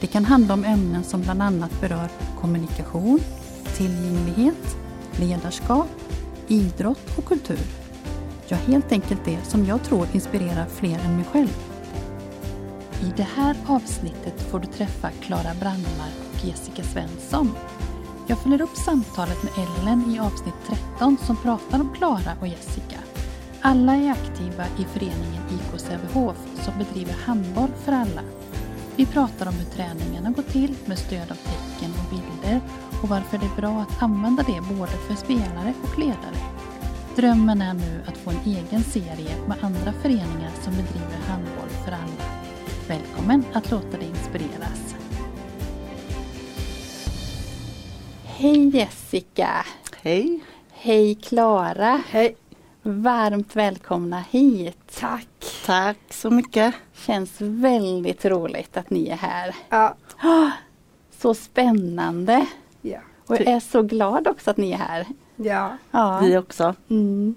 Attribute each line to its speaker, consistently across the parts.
Speaker 1: Det kan handla om ämnen som bland annat berör kommunikation, tillgänglighet, ledarskap, idrott och kultur. Ja, helt enkelt det som jag tror inspirerar fler än mig själv. I det här avsnittet får du träffa Klara Brandmark och Jessica Svensson. Jag följer upp samtalet med Ellen i avsnitt 13 som pratar om Klara och Jessica. Alla är aktiva i föreningen IK Sävehof som bedriver handboll för alla vi pratar om hur träningarna går till med stöd av tecken och bilder och varför det är bra att använda det både för spelare och ledare. Drömmen är nu att få en egen serie med andra föreningar som bedriver handboll för alla. Välkommen att låta dig inspireras. Hej Jessica!
Speaker 2: Hej!
Speaker 1: Hej Klara!
Speaker 2: Hej!
Speaker 1: Varmt välkomna hit!
Speaker 3: Tack!
Speaker 2: Tack så mycket!
Speaker 1: Känns väldigt roligt att ni är här.
Speaker 3: Ja.
Speaker 1: Så spännande!
Speaker 3: Ja.
Speaker 1: Och jag är så glad också att ni är här.
Speaker 3: ja.
Speaker 2: Vi
Speaker 1: Ja.
Speaker 2: också.
Speaker 1: Mm.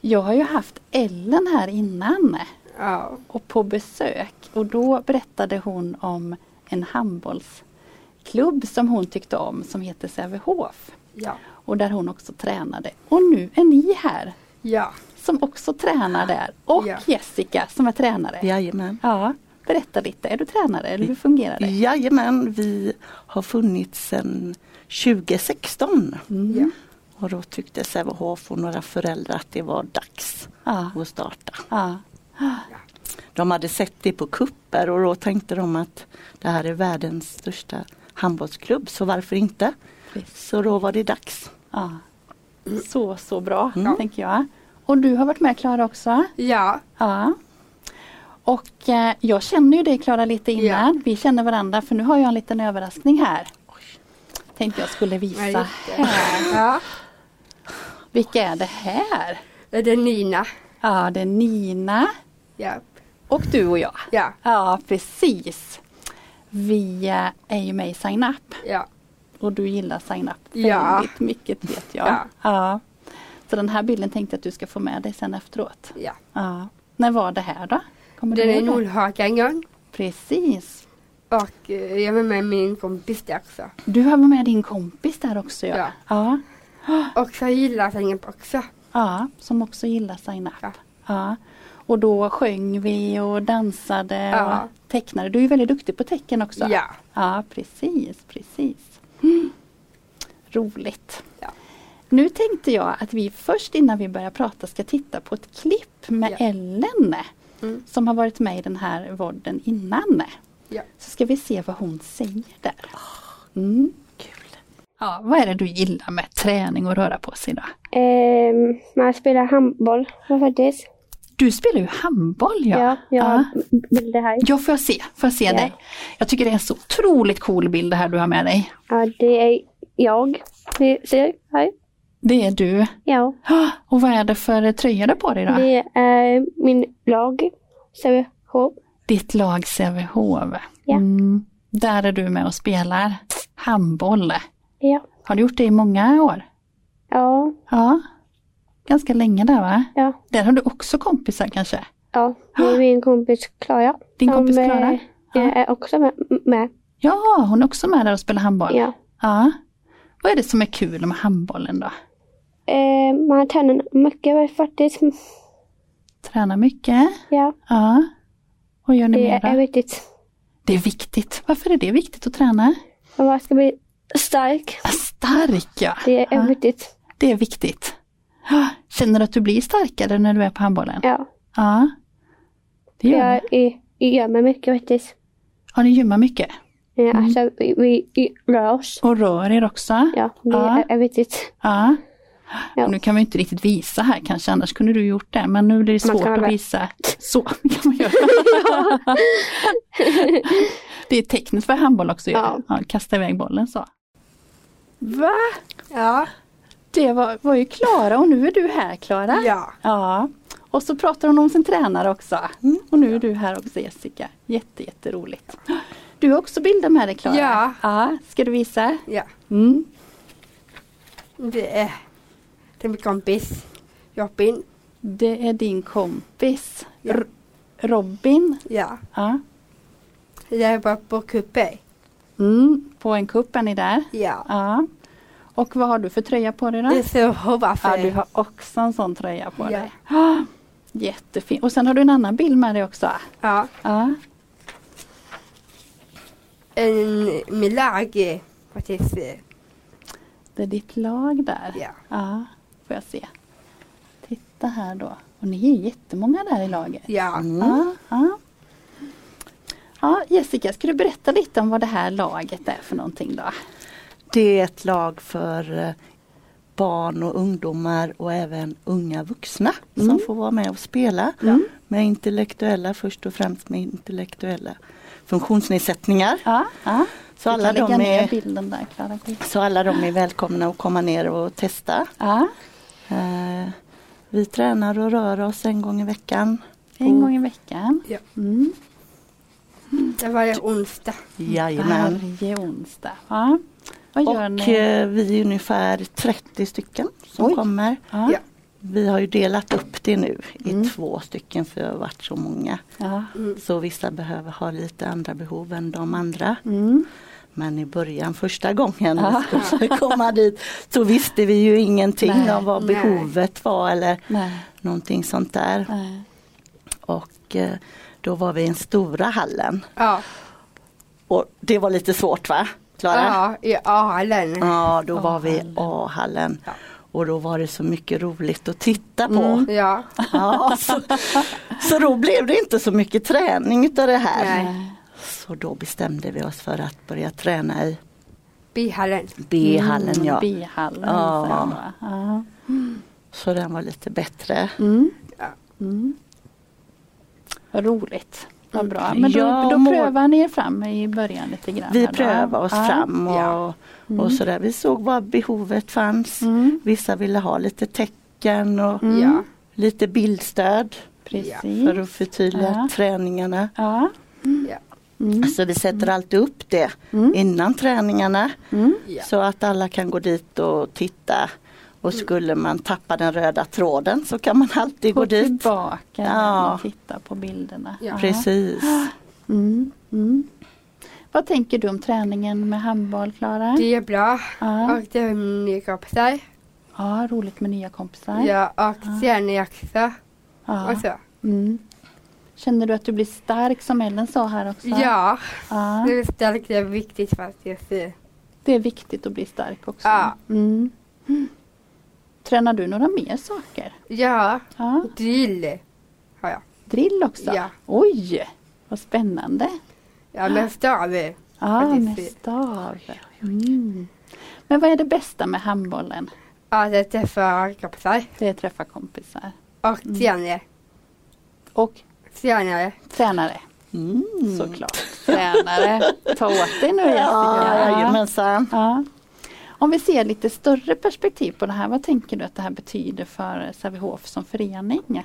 Speaker 1: Jag har ju haft Ellen här innan
Speaker 3: ja.
Speaker 1: och på besök och då berättade hon om en handbollsklubb som hon tyckte om som heter Sävehof
Speaker 3: ja.
Speaker 1: och där hon också tränade. Och nu är ni här
Speaker 3: ja.
Speaker 1: som också tränar där och
Speaker 3: Ja.
Speaker 1: Jessica som är tränare.
Speaker 2: Jajamän.
Speaker 1: Ja, Berätta lite, är du tränare eller hur fungerar det?
Speaker 2: Jajamän, vi har funnits sedan 2016.
Speaker 3: Ja.
Speaker 1: Mm.
Speaker 2: Och då tyckte Sävehof och några föräldrar att det var dags
Speaker 1: Ja.
Speaker 2: att starta.
Speaker 1: Ja.
Speaker 2: De hade sett det på kupper och då tänkte de att det här är världens största handbollsklubb, så varför inte?
Speaker 1: Precis.
Speaker 2: Så då var det dags.
Speaker 1: Ja. Så, så bra
Speaker 2: Mm.
Speaker 1: tänker jag. Och du har varit med Klara också.
Speaker 3: ja.
Speaker 1: Ja. Och eh, jag känner ju dig Klara lite innan. Vi känner varandra för nu har jag en liten överraskning här. Tänkte jag skulle
Speaker 3: Nej,
Speaker 1: visa.
Speaker 3: just det. ja.
Speaker 1: Vilka är det här?
Speaker 3: Är det Nina?
Speaker 1: Ja, det är Nina
Speaker 3: Ja.
Speaker 1: och du och jag.
Speaker 3: Ja.
Speaker 1: Ja, precis. Vi eh, är ju med i Sign Up
Speaker 3: Ja.
Speaker 1: och du gillar Sign Up
Speaker 3: Ja.
Speaker 1: väldigt mycket vet jag.
Speaker 3: Ja.
Speaker 1: ja. Så den här bilden tänkte jag att du ska få med dig sen efteråt.
Speaker 3: ja.
Speaker 1: Ja. När var det här då? Kommer
Speaker 3: Den
Speaker 1: du
Speaker 3: är i
Speaker 1: ihåg det?
Speaker 3: Nordhaga en gång.
Speaker 1: Precis.
Speaker 3: Och eh, jag var med min kompis där också.
Speaker 1: Du har varit med din kompis där också ja.
Speaker 3: Ja.
Speaker 1: Ja,
Speaker 3: Och så gillar jag sängen också.
Speaker 1: ja som också gillar Sign Up. Ja.
Speaker 3: Ja.
Speaker 1: Och då sjöng vi och dansade
Speaker 3: Ja.
Speaker 1: och tecknade. Du är väldigt duktig på tecken också.
Speaker 3: Ja.
Speaker 1: Ja, precis, precis. Mm. Roligt.
Speaker 3: Ja.
Speaker 1: Nu tänkte jag att vi först innan vi börjar prata ska titta på ett klipp med
Speaker 3: Ja.
Speaker 1: Ellen
Speaker 3: Mm.
Speaker 1: som har varit med i den här vodden innan.
Speaker 3: Ja.
Speaker 1: Så ska vi se vad hon säger där. Mm.
Speaker 2: Kul.
Speaker 1: Ja, vad är det du gillar med träning och röra på sig då?
Speaker 4: Ehm, man spelar handboll faktiskt.
Speaker 1: Du spelar ju handboll ja.
Speaker 4: Ja, jag har bilder här.
Speaker 1: ja får jag se, får jag se
Speaker 4: Ja.
Speaker 1: dig? Jag tycker det är en så otroligt cool bild det här du har med dig.
Speaker 4: Ja, det är jag. Ni ser här.
Speaker 1: Det är du.
Speaker 4: Ja,
Speaker 1: Ah, Och vad är det för eh, tröja du har på dig då?
Speaker 4: det är min lag. Sävehof.
Speaker 1: Ditt lag Sävehof.
Speaker 4: Ja.
Speaker 1: Mm. Där är du med och spelar handboll.
Speaker 4: Ja.
Speaker 1: Har du gjort det i många år?
Speaker 4: Ja,
Speaker 1: Ja. Ganska länge där va?
Speaker 4: ja,
Speaker 1: Där har du också kompisar kanske?
Speaker 4: ja. Det är min kompis Klara.
Speaker 1: Din
Speaker 4: som,
Speaker 1: kompis Klara?
Speaker 4: eh, är också med. med.
Speaker 1: Ja, hon är också med där och spelar handboll.
Speaker 4: Ja.
Speaker 1: Ja. Vad är det som är kul med handbollen då?
Speaker 4: Ehm, man tränar mycket faktiskt.
Speaker 1: Träna mycket?
Speaker 4: Ja,
Speaker 1: Ja. Vad gör ni
Speaker 4: det
Speaker 1: mer då?
Speaker 4: är viktigt.
Speaker 1: Det är viktigt. Varför är det viktigt att träna?
Speaker 4: Man ska bli stark.
Speaker 1: Stark ja!
Speaker 4: Det är
Speaker 1: ja.
Speaker 4: viktigt.
Speaker 1: Det är viktigt. Ja. Känner du att du blir starkare när du är på handbollen?
Speaker 4: Ja,
Speaker 1: Ja. Det gör du.
Speaker 4: jag, jag, jag gör mig mycket faktiskt.
Speaker 1: Ja, ni gymmar mycket.
Speaker 4: Ja,
Speaker 1: Mm.
Speaker 4: Alltså vi, vi vi rör oss.
Speaker 1: Och rör er också.
Speaker 4: Ja, det
Speaker 1: Ja.
Speaker 4: Är, är viktigt.
Speaker 1: Ja.
Speaker 4: Ja.
Speaker 1: Nu kan vi inte riktigt visa här kanske, annars kunde du gjort det. Men nu blir det
Speaker 4: Man
Speaker 1: svårt
Speaker 4: kan
Speaker 1: att
Speaker 4: väl-
Speaker 1: visa. Så kan man göra. det är tecknet för handboll också. ju.
Speaker 4: Ja.
Speaker 1: Ja, kasta iväg bollen så.
Speaker 5: Va?
Speaker 3: Ja.
Speaker 1: Det var, var ju Klara och nu är du här Klara.
Speaker 3: Ja.
Speaker 1: Ja, och så pratar hon om sin tränare också.
Speaker 3: Mm.
Speaker 1: Och nu är du här också Jessica. Jätte, jätteroligt. Du har också bilder med dig Klara.
Speaker 3: Ja.
Speaker 1: ja. Ska du visa?
Speaker 3: Ja.
Speaker 1: Mm.
Speaker 3: Det är, det är min kompis Robin.
Speaker 1: Det är din kompis
Speaker 3: Ja.
Speaker 1: R- Robin.
Speaker 3: Ja.
Speaker 1: Ja.
Speaker 3: Jag var på kuppe.
Speaker 1: Mm. På en kupp är ni där.
Speaker 3: Ja.
Speaker 1: Ja. Och vad har du för tröja på dig då?
Speaker 3: Det är så hoppa
Speaker 1: Ja, du
Speaker 3: för.
Speaker 1: har också en sån tröja på
Speaker 3: Ja.
Speaker 1: dig. Ah, jättefin. Och sen har du en annan bild med dig också.
Speaker 3: Ja.
Speaker 1: Ja.
Speaker 3: En, min lag faktiskt.
Speaker 1: Det är ditt lag där.
Speaker 3: Ja.
Speaker 1: Ja, får jag se. Titta här då. Och ni är jättemånga där i laget.
Speaker 3: Ja.
Speaker 2: Mm.
Speaker 1: Ja, ja. ja, Jessica, ska du berätta lite om vad det här laget är för någonting då?
Speaker 2: Det är ett lag för eh, barn och ungdomar och även unga vuxna
Speaker 1: Mm.
Speaker 2: som får vara med och spela. Med intellektuella först och främst med intellektuella funktionsnedsättningar.
Speaker 1: Ja, ja.
Speaker 2: Så
Speaker 1: Du
Speaker 2: alla,
Speaker 1: kan lägga
Speaker 2: de
Speaker 1: ner
Speaker 2: är,
Speaker 1: bilden där Klara.
Speaker 2: så alla de är välkomna att komma ner och testa.
Speaker 1: Ja,
Speaker 2: Eh, Vi tränar och rör oss en gång i veckan.
Speaker 1: en
Speaker 2: Oh.
Speaker 1: gång i veckan.
Speaker 3: Ja.
Speaker 1: Mm.
Speaker 3: Det var det onsdag.
Speaker 2: Jajamän.
Speaker 1: Varje onsdag. Ja. Vad gör
Speaker 2: Mm. Och
Speaker 1: ni?
Speaker 2: eh, vi är ungefär 30 stycken som
Speaker 1: Oj.
Speaker 2: kommer.
Speaker 1: Ja.
Speaker 3: Ja.
Speaker 2: Vi har ju delat upp det nu i
Speaker 1: Mm.
Speaker 2: två stycken för det har varit så många.
Speaker 1: Ja.
Speaker 3: Mm.
Speaker 2: Så vissa behöver ha lite andra behov än de andra.
Speaker 1: Mm.
Speaker 2: Men i början, första gången
Speaker 1: Ja.
Speaker 2: vi skulle komma dit så visste vi ju ingenting
Speaker 1: Nej.
Speaker 2: om vad
Speaker 3: Nej.
Speaker 2: behovet var eller
Speaker 1: Nej.
Speaker 2: någonting sånt där.
Speaker 1: Nej.
Speaker 2: Och eh, då var vi i den stora hallen.
Speaker 3: Ja.
Speaker 2: Och det var lite svårt va? Klara?
Speaker 3: Ja, i A-hallen.
Speaker 2: Ja, då var vi i
Speaker 1: A-hallen.
Speaker 2: A-hallen.
Speaker 3: Ja.
Speaker 2: Och då var det så mycket roligt att titta på.
Speaker 3: Mm. Ja.
Speaker 2: Ja, så, så då blev det inte så mycket träning utav det här.
Speaker 3: Nej.
Speaker 2: Så då bestämde vi oss för att börja träna i
Speaker 3: Mm. B-hallen.
Speaker 1: Mm,
Speaker 2: B-hallen. Ja.
Speaker 1: B-hallen.
Speaker 2: Ja.
Speaker 1: sen då. Ja.
Speaker 2: Så den var lite bättre.
Speaker 1: Mm.
Speaker 3: Ja.
Speaker 1: Mm. Vad roligt. Vad bra. Men då,
Speaker 2: Mm. Ja,
Speaker 1: då
Speaker 2: må-
Speaker 1: prövar ni er fram i början lite grann?
Speaker 2: Vi
Speaker 1: här då.
Speaker 2: prövade oss
Speaker 1: ja.
Speaker 2: fram och,
Speaker 3: Ja.
Speaker 2: och sådär. Vi såg vad behovet fanns.
Speaker 1: Mm.
Speaker 2: Vissa ville ha lite tecken och
Speaker 1: Mm.
Speaker 3: Ja.
Speaker 2: lite bildstöd
Speaker 1: Precis.
Speaker 2: för att förtydliga
Speaker 1: Ja.
Speaker 2: träningarna.
Speaker 1: Ja.
Speaker 3: Ja.
Speaker 1: Mm.
Speaker 2: Så vi sätter alltid upp det
Speaker 1: Mm.
Speaker 2: innan träningarna
Speaker 1: Mm.
Speaker 3: Ja.
Speaker 2: så att alla kan gå dit och titta. Och
Speaker 1: Mm.
Speaker 2: skulle man tappa den röda tråden så kan man alltid gå
Speaker 1: Gå
Speaker 2: dit.
Speaker 1: tillbaka
Speaker 2: Ja.
Speaker 1: och titta på bilderna.
Speaker 3: Ja.
Speaker 2: Precis.
Speaker 1: Mm. Mm. Vad tänker du om träningen med handboll Klara?
Speaker 3: Det är bra.
Speaker 1: Ja.
Speaker 3: Och det är mina kompisar.
Speaker 1: ja, roligt med nya kompisar.
Speaker 3: Ja, och träning också.
Speaker 1: Ja.
Speaker 3: Och så.
Speaker 1: Mm. Känner du att du blir stark som Ellen sa här också?
Speaker 3: Ja,
Speaker 1: Ja.
Speaker 3: det är starkt. Det är viktigt faktiskt.
Speaker 1: Det är viktigt att bli stark också.
Speaker 3: Ja.
Speaker 1: Mm. Mm. Tränar du några mer saker?
Speaker 3: Ja,
Speaker 1: Ja.
Speaker 3: drill har jag.
Speaker 1: Drill också?
Speaker 3: Ja.
Speaker 1: Oj, vad spännande.
Speaker 3: Ja, men stav.
Speaker 1: Ja,
Speaker 3: det är
Speaker 1: med
Speaker 3: fint.
Speaker 1: stav. Mm. Men vad är det bästa med handbollen?
Speaker 3: Ja, det träffar kompisar.
Speaker 1: Det är att träffa kompisar.
Speaker 3: Och tränare.
Speaker 1: Och
Speaker 3: Tränare.
Speaker 1: tränare,
Speaker 2: Mm.
Speaker 1: såklart. Tränare. Ta åt dig nu Jessica.
Speaker 2: Ja, jajamensan.
Speaker 1: Ja. Om vi ser lite större perspektiv på det här, vad tänker du att det här betyder för Sävehof som förening?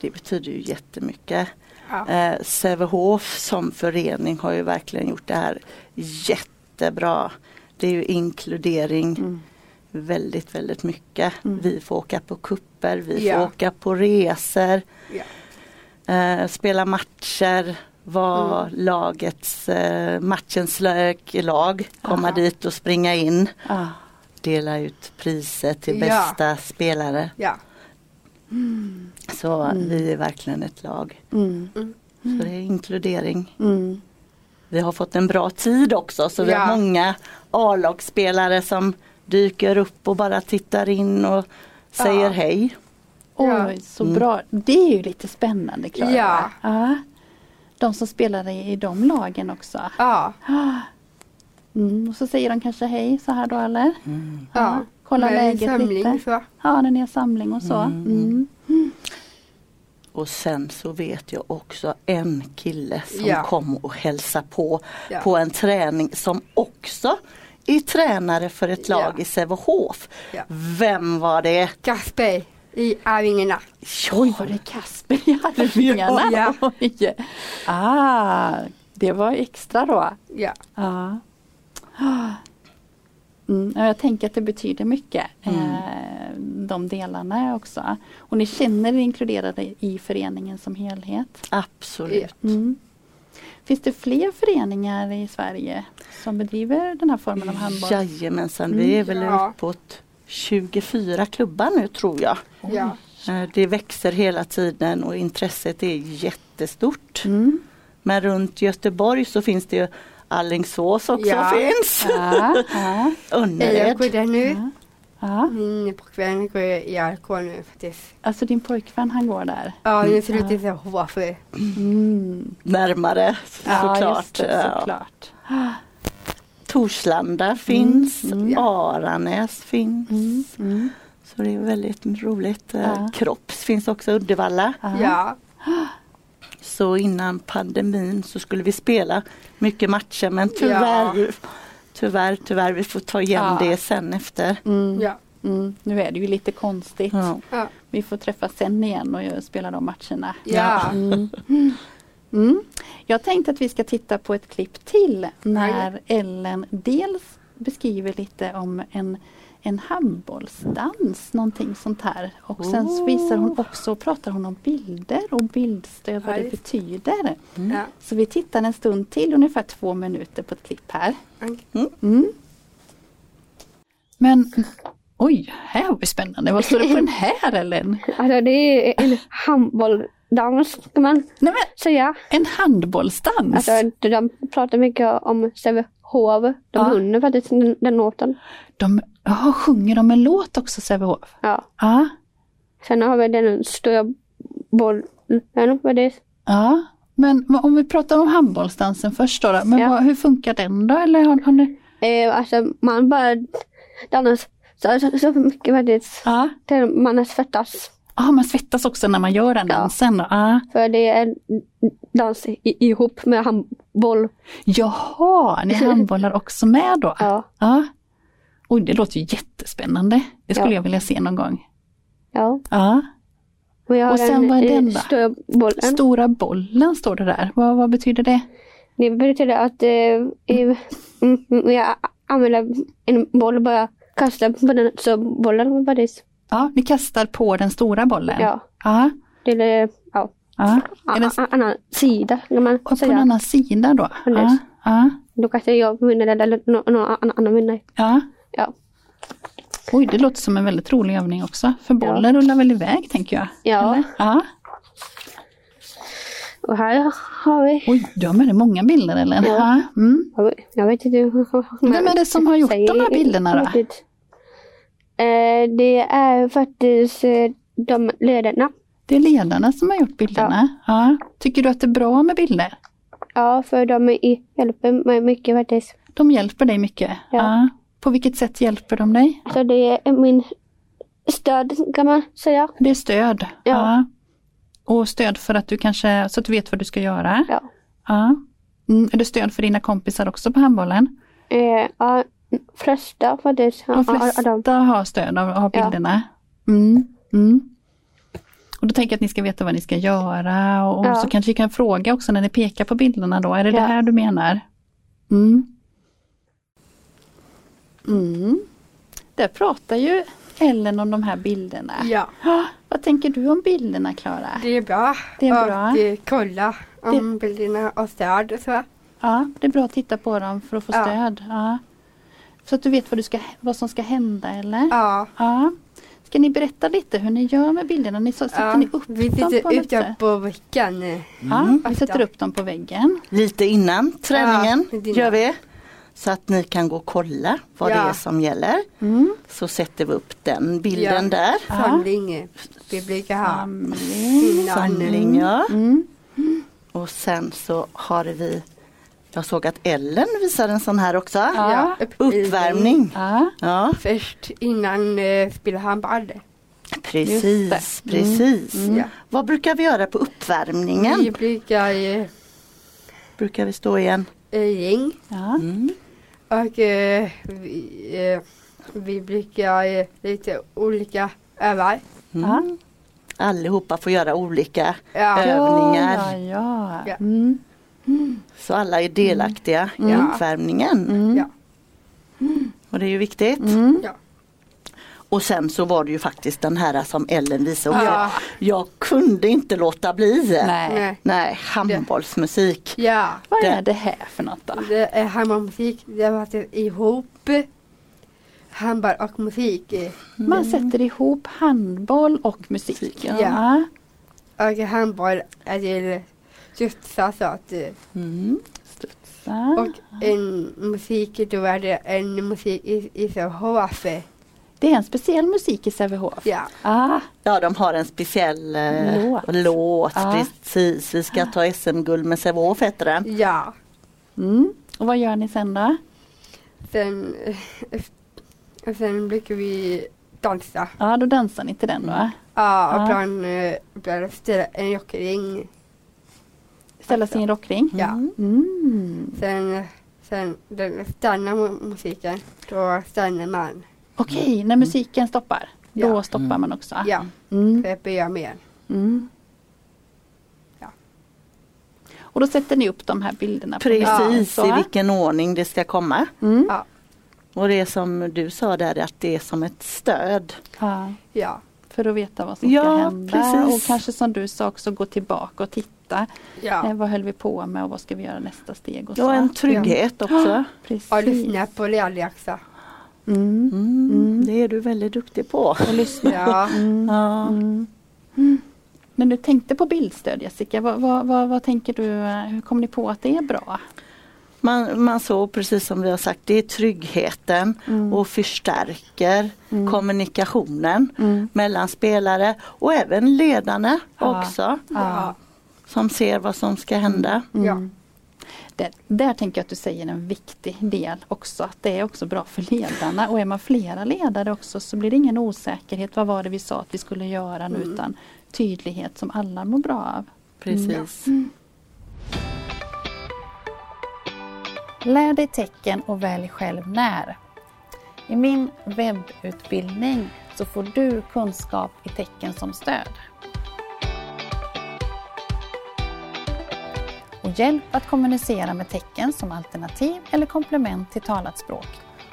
Speaker 2: Det betyder ju jättemycket.
Speaker 3: Ja.
Speaker 2: Eh, Sävehof som förening har ju verkligen gjort det här jättebra. Det är ju inkludering väldigt, väldigt mycket.
Speaker 1: Mm.
Speaker 2: Mm. Vi får åka på kupper, vi får
Speaker 3: Mm. Ja.
Speaker 2: åka på resor,
Speaker 3: ja.
Speaker 2: eh, spela matcher, vara
Speaker 3: Mm.
Speaker 2: lagets, eh, matchens lök- lag, komma
Speaker 3: Aha.
Speaker 2: dit och springa in,
Speaker 1: Ja.
Speaker 2: dela ut priser till
Speaker 3: Ja.
Speaker 2: bästa spelare.
Speaker 3: ja.
Speaker 2: Så
Speaker 3: Mm.
Speaker 2: vi är verkligen ett lag.
Speaker 1: Mm.
Speaker 2: Så det är inkludering.
Speaker 1: Mm.
Speaker 2: Vi har fått en bra tid också så vi har
Speaker 3: Ja.
Speaker 2: många A-lagsspelare som dyker upp och bara tittar in och säger
Speaker 3: Ja.
Speaker 2: hej.
Speaker 1: Oj,
Speaker 3: Ja.
Speaker 1: så
Speaker 2: Mm.
Speaker 1: bra. Det är ju lite spännande Klara.
Speaker 3: Ja.
Speaker 1: va? ja. De som spelar i i de lagen också.
Speaker 3: ja.
Speaker 1: Ah. Mm, och så säger de kanske hej så här då eller?
Speaker 2: Mm.
Speaker 3: ja.
Speaker 1: Kolla
Speaker 3: Men
Speaker 1: läget
Speaker 3: samling,
Speaker 1: lite.
Speaker 3: Så.
Speaker 1: Ja, när ni har samling och så. Mm.
Speaker 2: Och sen så vet jag också en kille som
Speaker 3: Ja.
Speaker 2: kom och hälsade på
Speaker 3: Ja.
Speaker 2: på en träning som också är tränare för ett lag
Speaker 3: Ja.
Speaker 2: i Sävehof.
Speaker 3: Ja.
Speaker 2: Vem var det?
Speaker 3: Kasper i Arvingarna.
Speaker 1: Oj, var det Kasper i Arvingarna?
Speaker 3: Ja.
Speaker 1: Oj. Ah, det var extra då.
Speaker 3: Ja.
Speaker 1: Ja. Ah. Mm, ja, jag tänker att det betyder mycket, eh, de delarna också. Och ni känner er inkluderade i föreningen som helhet?
Speaker 2: Absolut.
Speaker 1: Mm. Finns det fler föreningar i Sverige som bedriver den här formen av handboll?
Speaker 2: Jajamensan, vi är väl
Speaker 3: E- Mm, Ja.
Speaker 2: uppåt 24 klubbar nu tror jag.
Speaker 3: Ja.
Speaker 2: Eh, Det växer hela tiden och intresset är jättestort.
Speaker 1: Mm.
Speaker 2: Men runt Göteborg så finns det ju Alingsås också
Speaker 3: Ja.
Speaker 2: finns.
Speaker 1: Ja, ja,
Speaker 3: Jag går
Speaker 2: Önnered.
Speaker 3: där nu.
Speaker 1: ja.
Speaker 3: Min pojkvän går i AIK nu faktiskt.
Speaker 1: Alltså din pojkvän han går där?
Speaker 3: Ja, nu ser det ut att jag hoppar för.
Speaker 1: Mm.
Speaker 2: Närmare
Speaker 1: Ja, just
Speaker 2: såklart.
Speaker 1: det,
Speaker 2: Ja.
Speaker 1: såklart.
Speaker 2: Torslanda finns,
Speaker 1: mm.
Speaker 2: Aranäs finns.
Speaker 1: Mm. Mm.
Speaker 2: Så det är väldigt roligt. Eh,
Speaker 1: Ja.
Speaker 2: Kropps finns också, Uddevalla.
Speaker 3: Ja.
Speaker 2: Så innan pandemin så skulle vi spela mycket matcher men tyvärr, tyvärr, tyvärr vi får ta igen
Speaker 1: Ja.
Speaker 2: det sen efter.
Speaker 1: Mm.
Speaker 3: Ja.
Speaker 1: Mm. Nu är det ju lite konstigt.
Speaker 2: Ja.
Speaker 3: Ja.
Speaker 1: Vi får träffas sen igen och jag spela de matcherna.
Speaker 3: Ja.
Speaker 1: Mm. Mm. Mm. Jag tänkte att vi ska titta på ett klipp till när Ellen dels beskriver lite om en, en handbollsdans, någonting sånt här. Och sen så visar hon också, pratar hon om bilder och bildstöd, vad
Speaker 3: Ja,
Speaker 1: det
Speaker 3: just.
Speaker 1: betyder.
Speaker 3: Ja.
Speaker 1: Så vi tittar en stund till, ungefär två minuter på ett klipp här.
Speaker 3: Okej.
Speaker 1: Mm. Men oj, här var det spännande. Vad står det på den här Ellen?
Speaker 4: Alltså det är en handbolldans kan man
Speaker 1: Nej, men,
Speaker 4: säga.
Speaker 1: en handbollsdans?
Speaker 4: Alltså de pratar mycket om Sävehof. De
Speaker 1: Ja.
Speaker 4: hunner faktiskt den, den låten.
Speaker 1: De, jaha, sjunger de en låt också Sävehof?
Speaker 4: Ja.
Speaker 1: Ja.
Speaker 4: Sen har vi den stora bollen. Vad det är.
Speaker 1: ja. Men vad- om vi pratar om handbollsdansen först då. då. Men
Speaker 4: Ja.
Speaker 1: vad, hur funkar den då? Eller har, har ni...
Speaker 4: Eh, alltså man bara dansar så, så, så mycket faktiskt.
Speaker 1: Ja.
Speaker 4: Till man svettas.
Speaker 1: Ah, man svettas också när man gör den
Speaker 4: Ja.
Speaker 1: dansen då? Ja.
Speaker 4: För det är dans i, ihop med handboll.
Speaker 1: Jaha, ni handbollar också med då?
Speaker 4: Ja.
Speaker 1: Ja. Oj, det låter ju jättespännande. Det skulle
Speaker 4: Ja.
Speaker 1: jag vilja se någon gång.
Speaker 4: ja.
Speaker 1: Ja.
Speaker 4: Och, jag har eh,
Speaker 1: Och sen
Speaker 4: den
Speaker 1: vad är
Speaker 4: i
Speaker 1: den då?
Speaker 4: Stora bollen.
Speaker 1: Stora bollen står det där. Vad, vad betyder det?
Speaker 4: Det betyder att eh, i- mm, mm, jag använder en boll och bara kastar på den så bollen faktiskt.
Speaker 1: Ja, ni kastar på den stora bollen?
Speaker 4: Ja.
Speaker 1: Ja.
Speaker 4: Till eh, ja,
Speaker 1: ja. Är den
Speaker 4: a- a- annan sida kan man
Speaker 1: Och på en
Speaker 4: säga.
Speaker 1: annan sida då? Ja.
Speaker 4: Precis.
Speaker 1: ja.
Speaker 4: Då kastar jag vinnare eller nå- någon annan- annan vinnare.
Speaker 1: ja.
Speaker 4: Ja.
Speaker 1: Oj, det låter som en väldigt rolig övning också. För bollen rullar väl iväg tänker jag?
Speaker 4: Ja.
Speaker 1: Eller? ja.
Speaker 4: Och här har vi.
Speaker 1: Oj, du har med dig många bilder eller?
Speaker 4: Ja.
Speaker 1: Mm.
Speaker 4: Jag vet inte hur man
Speaker 1: Vem är det som har gjort de här bilderna då?
Speaker 4: riktigt. Eh, det är faktiskt eh, de ledarna.
Speaker 1: Det är ledarna som har gjort bilderna. Ja. Tycker du att det är bra med bilder?
Speaker 4: Ja, för de är i- hjälper mig mycket faktiskt.
Speaker 1: De hjälper dig mycket?
Speaker 4: Ja.
Speaker 1: På vilket sätt hjälper de dig?
Speaker 4: Så det är min stöd kan man säga.
Speaker 1: Det är stöd?
Speaker 4: Ja.
Speaker 1: Och stöd för att du kanske, så att du vet vad du ska göra?
Speaker 4: Ja.
Speaker 1: Ja. Mm, är det stöd för dina kompisar också på handbollen?
Speaker 4: Eh, ja, flesta faktiskt.
Speaker 1: De
Speaker 4: Ja, ja, de.
Speaker 1: flesta har stöd av, av
Speaker 4: Ja.
Speaker 1: bilderna. Mm. Mm. Och då tänker jag att ni ska veta vad ni ska göra och, och
Speaker 4: Ja.
Speaker 1: så kanske vi kan fråga också när ni pekar på bilderna då. Är det det
Speaker 4: Ja.
Speaker 1: här du menar? Mm. Mm. Där pratar ju Ellen om de här bilderna.
Speaker 3: Ja.
Speaker 1: Ah, Vad tänker du om bilderna Klara?
Speaker 3: Det är bra.
Speaker 1: Det är bra.
Speaker 3: Och eh, kolla om bilderna och stöd och så.
Speaker 1: Ja, det är bra att titta på dem för att få
Speaker 3: Ja.
Speaker 1: stöd. Ja. Så att du vet vad, du ska, vad som ska hända eller?
Speaker 3: Ja.
Speaker 1: Ja. Ska ni berätta lite hur ni gör med bilderna? Ni så, sätter
Speaker 3: ja.
Speaker 1: ni upp
Speaker 3: Vi
Speaker 1: dem på
Speaker 3: sitter
Speaker 1: något
Speaker 3: ute
Speaker 1: sätt?
Speaker 3: på veckan. eh.
Speaker 1: Ja, vi sätter upp dem på väggen.
Speaker 2: Lite innan träningen
Speaker 3: Ja, lite innan.
Speaker 2: gör vi. Så att ni kan gå och kolla vad
Speaker 3: Ja.
Speaker 2: det är som gäller.
Speaker 1: Mm.
Speaker 2: Så sätter vi upp den bilden
Speaker 3: Ja.
Speaker 2: där.
Speaker 3: Samling. eh. Vi brukar ha
Speaker 1: Samling.
Speaker 3: innan.
Speaker 2: Samling ja.
Speaker 1: Mm.
Speaker 2: Och sen så har vi Jag såg att Ellen visar en sån här också.
Speaker 1: Ja.
Speaker 3: upp-
Speaker 2: Uppvärmning.
Speaker 1: Ja.
Speaker 2: Ja
Speaker 3: Först innan eh, spela handboll.
Speaker 2: precis, precis.
Speaker 3: Ja.
Speaker 2: Vad brukar vi göra på uppvärmningen?
Speaker 3: Vi brukar eh,
Speaker 2: Brukar vi stå igen?
Speaker 3: eh, gäng
Speaker 1: Ja.
Speaker 2: Mm.
Speaker 3: Och eh, vi, eh, vi brukar eh, lite olika övar.
Speaker 2: Mm. Allihopa får göra olika
Speaker 3: Ja.
Speaker 2: Ja.
Speaker 1: Ja,
Speaker 2: Övningar.
Speaker 1: ja.
Speaker 3: Ja.
Speaker 1: Mm.
Speaker 2: så alla är delaktiga i
Speaker 3: Ja.
Speaker 2: uppvärmningen.
Speaker 1: Mm.
Speaker 3: Ja.
Speaker 2: Och det är ju viktigt.
Speaker 1: Mm.
Speaker 3: ja.
Speaker 2: Och sen så var det ju faktiskt den här som Ellen visade också.
Speaker 3: Ja.
Speaker 2: Jag kunde inte låta bli.
Speaker 1: Nej.
Speaker 3: Nej.
Speaker 2: Nej, handbollsmusik.
Speaker 3: Ja.
Speaker 1: Vad
Speaker 2: Det-
Speaker 1: är det här för något då?
Speaker 3: Det är handbollsmusik. Det var det ihop. Handboll och musik. eh,
Speaker 1: Man sätter ihop handboll och musik.
Speaker 2: Ja.
Speaker 1: Ja.
Speaker 3: Och handboll är till studsa så att eh,
Speaker 2: Mm.
Speaker 1: Så.
Speaker 3: och en musik då är det en musik i, i Sävehof.
Speaker 1: Det är en speciell musik i Sävehof.
Speaker 3: E. Ja.
Speaker 1: Ah,
Speaker 2: Ja, de har en speciell eh,
Speaker 1: Låt.
Speaker 2: låt.
Speaker 1: Ja.
Speaker 2: Precis, vi ska ta SM-guld med Sävehof heter den.
Speaker 3: Ja.
Speaker 1: mm. Och vad gör ni sen då?
Speaker 3: Sen, eh, sen brukar vi dansa.
Speaker 1: Ja, då dansar ni till den
Speaker 3: Mm.
Speaker 1: då.
Speaker 3: Ja, och
Speaker 1: Ja.
Speaker 3: ibland, eh, ibland ställa en rockring.
Speaker 1: Ställa sig i en rockring.
Speaker 3: Ja.
Speaker 1: Mm.
Speaker 3: Sen, eh, sen den stannar mu- musiken, då stannar man.
Speaker 1: Okej, när musiken stoppar. Då
Speaker 3: Mm. Ja.
Speaker 1: stoppar
Speaker 2: Mm.
Speaker 1: man också.
Speaker 3: Ja,
Speaker 1: Mm.
Speaker 3: det blir jag med.
Speaker 1: Mm.
Speaker 3: Ja.
Speaker 1: Och då sätter ni upp de här bilderna. på väggen,
Speaker 2: Precis,
Speaker 1: så.
Speaker 2: i vilken ordning det ska komma.
Speaker 1: Mm.
Speaker 3: Ja,
Speaker 2: Och det är som du sa där att det är som ett stöd.
Speaker 1: Ja.
Speaker 3: ja,
Speaker 1: För att veta vad som ska
Speaker 2: Ja,
Speaker 1: hända.
Speaker 2: precis.
Speaker 1: Och kanske som du sa också gå tillbaka och titta. Eh,
Speaker 3: ja.
Speaker 1: vad höll vi på med och vad ska vi göra nästa steg? Och så.
Speaker 2: Och en trygghet också.
Speaker 1: Precis.
Speaker 3: Och lyssna på lärläxa.
Speaker 1: Mm.
Speaker 2: Mm,
Speaker 1: Mm.
Speaker 2: Det är du väldigt duktig på.
Speaker 1: Och lyssna.
Speaker 3: Ja,
Speaker 1: Mm.
Speaker 2: Ja.
Speaker 1: Mm. Mm. När du tänkte på bildstöd Jessica, vad, vad, vad, vad tänker du, eh, hur kom ni på att det är bra?
Speaker 2: Man, man såg precis som vi har sagt, det är tryggheten
Speaker 1: Mm.
Speaker 2: och förstärker
Speaker 1: Mm.
Speaker 2: kommunikationen
Speaker 1: Mm.
Speaker 2: mellan spelare och även ledarna
Speaker 1: Ja.
Speaker 2: också
Speaker 3: ja,
Speaker 2: som ser vad som ska
Speaker 1: Mm.
Speaker 2: hända.
Speaker 3: ja,
Speaker 1: Det, där tänker jag att du säger en viktig del också, att det är också bra för ledarna och är man flera ledare också så blir det ingen osäkerhet, vad var det vi sa att vi skulle göra nu, utan tydlighet som alla mår bra av.
Speaker 2: Precis.
Speaker 1: Mm. Lär dig tecken och välj själv när. I min webbutbildning så får du kunskap i tecken som stöd. Och hjälp att kommunicera med tecken som alternativ eller komplement till talat språk.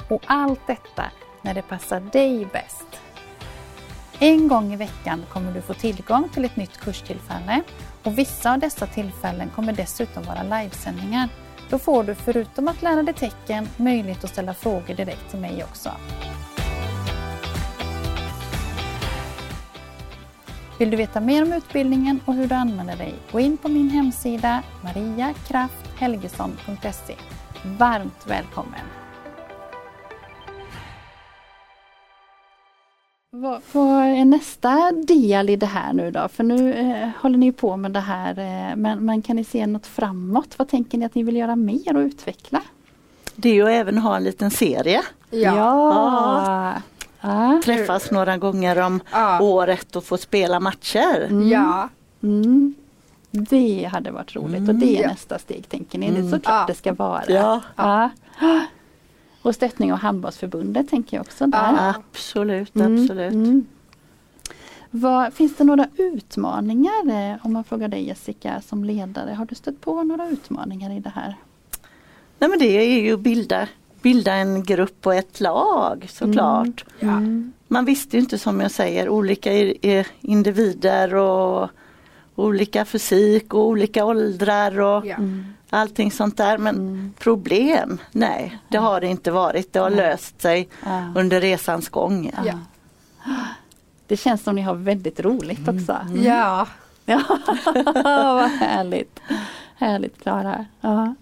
Speaker 1: Och allt detta när det passar dig bäst. En gång i veckan kommer du få tillgång till ett nytt kurstillfälle och vissa av dessa tillfällen kommer dessutom vara livesändningar. Då får du förutom att lära dig tecken möjlighet att ställa frågor direkt till mig också. Vill du veta mer om utbildningen och hur du använder dig? Gå in på min hemsida mariakrafthelgesson.se. Varmt välkommen! Vad, vad är nästa del i det här nu då? För nu eh, håller ni ju på med det här eh, men, men kan ni se något framåt? Vad tänker ni att ni vill göra mer och utveckla?
Speaker 2: Det är ju att även ha en liten serie.
Speaker 3: ja,
Speaker 1: Ja. Ja.
Speaker 2: Träffas några gånger om
Speaker 3: Ja.
Speaker 2: året och få spela matcher.
Speaker 3: ja,
Speaker 1: Mm. Det hade varit roligt och det är
Speaker 3: Mm. Ja. Mm.
Speaker 1: nästa steg tänker ni. Det är så klart
Speaker 3: Ja.
Speaker 1: det ska vara.
Speaker 2: Ja.
Speaker 1: Ja. Och stöttning av handbollsförbundet tänker jag också där.
Speaker 3: Ja.
Speaker 2: Absolut,
Speaker 1: Mm,
Speaker 2: absolut.
Speaker 1: mm. Vad, finns det några utmaningar eh, om man frågar dig Jessica som ledare? Har du stött på några utmaningar i det här?
Speaker 2: Nej, men det är ju att bilda, bilda en grupp och ett lag
Speaker 1: Mm.
Speaker 2: såklart.
Speaker 3: ja,
Speaker 2: Man visste ju inte som jag säger olika i- i- individer och olika fysik och olika åldrar och
Speaker 3: ja,
Speaker 1: mm,
Speaker 2: allting sånt där. Men problem, nej det har det inte varit. Det har löst sig
Speaker 1: Ja.
Speaker 2: under resans gång.
Speaker 3: ja,
Speaker 1: Det känns som ni har väldigt roligt också.
Speaker 3: ja,
Speaker 1: Ja, vad härligt. Härligt Klara. Ja.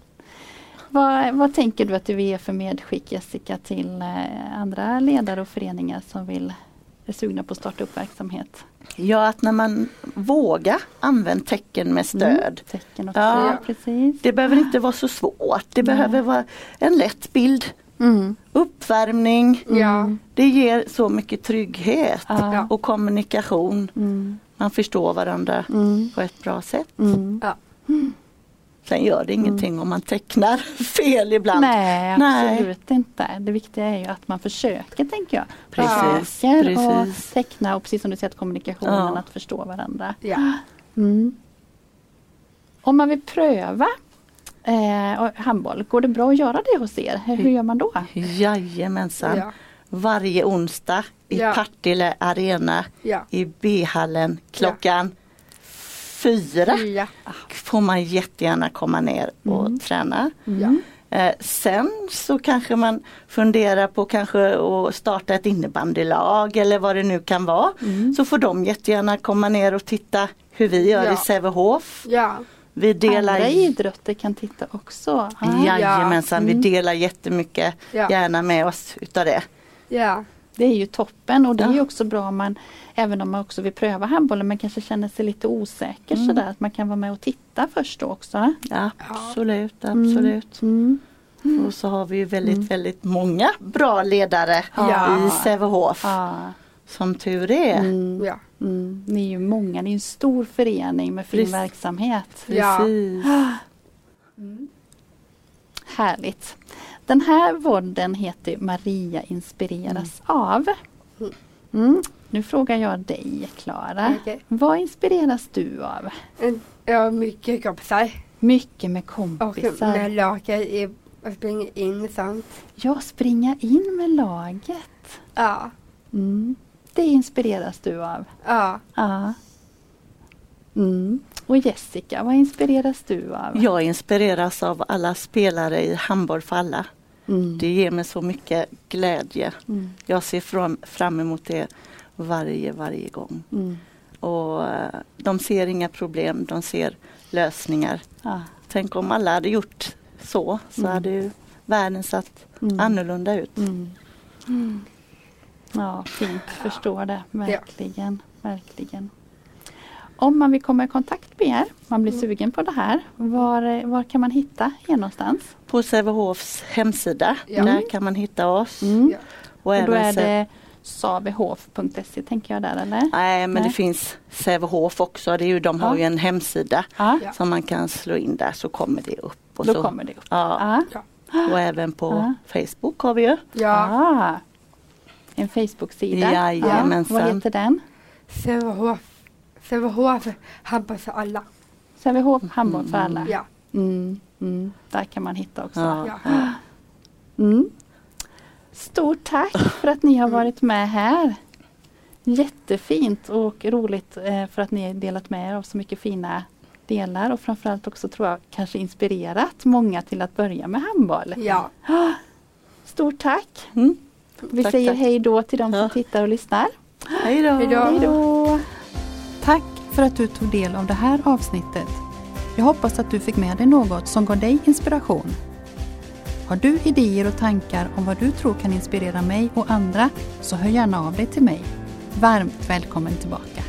Speaker 1: Vad, vad tänker du att du vill ge för medskick Jessica till eh, andra ledare och föreningar som vill är sugna på att starta upp verksamhet?
Speaker 2: Ja, att när man vågar använda tecken med
Speaker 1: Mm.
Speaker 2: stöd.
Speaker 1: Tecken också,
Speaker 2: Ja.
Speaker 1: ja. precis.
Speaker 2: Det behöver inte vara så svårt. Det behöver vara en lätt bild,
Speaker 1: Mm.
Speaker 2: uppvärmning.
Speaker 3: ja,
Speaker 2: Det ger så mycket trygghet
Speaker 1: Ja.
Speaker 2: och kommunikation.
Speaker 1: Mm.
Speaker 2: Man förstår varandra
Speaker 1: Mm.
Speaker 2: på ett bra sätt.
Speaker 1: Mm.
Speaker 3: ja,
Speaker 2: Sen gör det ingenting
Speaker 3: Mm.
Speaker 2: om man tecknar fel ibland.
Speaker 1: Nej,
Speaker 2: Nej.
Speaker 1: absolut inte. Det viktiga är ju att man försöker tänker jag.
Speaker 2: Precis,
Speaker 1: Försöker
Speaker 2: precis.
Speaker 1: och teckna och precis som du säger att kommunikationen,
Speaker 2: Ja.
Speaker 1: att förstå varandra.
Speaker 3: Ja.
Speaker 1: Mm. Om man vill pröva eh, och handboll, går det bra att göra det hos er? Hur, hur gör man då?
Speaker 2: Jajamensan.
Speaker 3: Ja.
Speaker 2: Varje onsdag i
Speaker 3: Ja.
Speaker 2: Partille Arena
Speaker 3: Ja.
Speaker 2: i B-hallen klockan fyra
Speaker 3: Ja.
Speaker 2: får man jättegärna komma ner och
Speaker 3: Mm.
Speaker 2: träna.
Speaker 3: Ja.
Speaker 2: Eh, sen så kanske man funderar på kanske att starta ett innebandylag eller vad det nu kan vara.
Speaker 3: Mm.
Speaker 1: Mm.
Speaker 2: Så får de jättegärna komma ner och titta hur vi gör
Speaker 3: Ja.
Speaker 2: i Sävehof.
Speaker 3: Ja.
Speaker 2: Vi delar
Speaker 1: Andra idrotter kan titta också. Ah, Ja, Mm.
Speaker 2: Jajamensan, vi delar jättemycket
Speaker 3: Ja.
Speaker 2: gärna med oss utav det.
Speaker 3: Ja.
Speaker 1: Det är ju toppen och det är ju
Speaker 2: Ja.
Speaker 1: också bra om man, även om man också vill pröva handbollen, men kanske känner sig lite osäker
Speaker 3: Mm.
Speaker 1: sådär, att man kan vara med och titta först då också.
Speaker 2: Absolut, absolut.
Speaker 1: Mm.
Speaker 2: Och så har vi ju väldigt, väldigt många bra ledare
Speaker 3: Ja.
Speaker 2: i Sävehof.
Speaker 1: Ja.
Speaker 2: Som tur är.
Speaker 3: Ja.
Speaker 1: Mm. Ni är ju många, ni är en stor förening med fin
Speaker 2: Precis.
Speaker 1: verksamhet.
Speaker 3: Ja.
Speaker 2: Precis.
Speaker 3: Mm.
Speaker 1: Härligt. Den här podden heter ju Maria inspireras av. Mm. Nu frågar jag dig Klara.
Speaker 3: Okej.
Speaker 1: Vad inspireras du av?
Speaker 3: En- Jag har mycket kompisar
Speaker 1: Mycket med
Speaker 3: och
Speaker 1: kompisar.
Speaker 3: med lager i och springer in och sånt.
Speaker 1: Jag springa in med laget.
Speaker 3: Ja.
Speaker 1: Mm. Det inspireras du av.
Speaker 3: Ja.
Speaker 1: Ja. Mm. Och Jessica, vad inspireras du av?
Speaker 2: Jag inspireras av alla spelare i Handboll för alla.
Speaker 1: Mm.
Speaker 2: Det ger mig så mycket glädje.
Speaker 1: Mm.
Speaker 2: Jag ser fram, fram emot det varje, varje gång.
Speaker 1: Mm.
Speaker 2: Och eh, de ser inga problem, de ser lösningar.
Speaker 1: Ja.
Speaker 2: Tänk om alla hade gjort så, så hade ju världen sett
Speaker 1: Mm.
Speaker 2: annorlunda ut.
Speaker 1: Mm. Ja, fint. Förstår det. Verkligen. Verkligen. Om man vill komma i kontakt med er, man blir sugen på det här, var, var kan man hitta er någonstans?
Speaker 2: På Sävehofs hemsida,
Speaker 3: Ja.
Speaker 2: där kan man hitta oss.
Speaker 3: Ja.
Speaker 2: Och
Speaker 1: Mm. Och då
Speaker 2: även
Speaker 1: är
Speaker 2: Sä-
Speaker 1: det savehof.se tänker jag där eller?
Speaker 2: Nej men
Speaker 1: Nej.
Speaker 2: det finns Sävehof också, det är ju, de har
Speaker 1: Ja.
Speaker 2: ju en hemsida
Speaker 1: Ja,
Speaker 3: Ja.
Speaker 2: som man kan slå in där så kommer det upp. Och
Speaker 1: då Ah.
Speaker 2: så.
Speaker 1: kommer det upp.
Speaker 2: Ja.
Speaker 1: Ja.
Speaker 3: Ja.
Speaker 2: Och även på
Speaker 1: Ja.
Speaker 2: Facebook har vi ju.
Speaker 3: Ja.
Speaker 1: Ah. En Facebook-sida.
Speaker 2: Jajamensan.
Speaker 1: Vad heter den?
Speaker 3: Sävehof. Sävehof. Hampus och alla.
Speaker 1: Sävehof handboll för alla.
Speaker 3: Ja.
Speaker 1: Mm, mm. Där kan man hitta också.
Speaker 3: Ja.
Speaker 1: Mm. Stort tack för att ni har varit med här. Jättefint och roligt eh, för att ni har delat med er av så mycket fina delar och framförallt också tror jag kanske inspirerat många till att börja med handboll.
Speaker 3: Ja.
Speaker 1: Stort tack!
Speaker 2: Mm.
Speaker 1: Vi
Speaker 2: Tack,
Speaker 1: säger
Speaker 2: tack.
Speaker 1: hej då till de som
Speaker 2: Ja.
Speaker 1: tittar och lyssnar.
Speaker 2: Hej då!
Speaker 3: Hej då.
Speaker 1: Hej då!
Speaker 5: Tack för att du tog del av det här avsnittet. Jag hoppas att du fick med dig något som gav dig inspiration. Har du idéer och tankar om vad du tror kan inspirera mig och andra så hör gärna av dig till mig. Varmt välkommen tillbaka!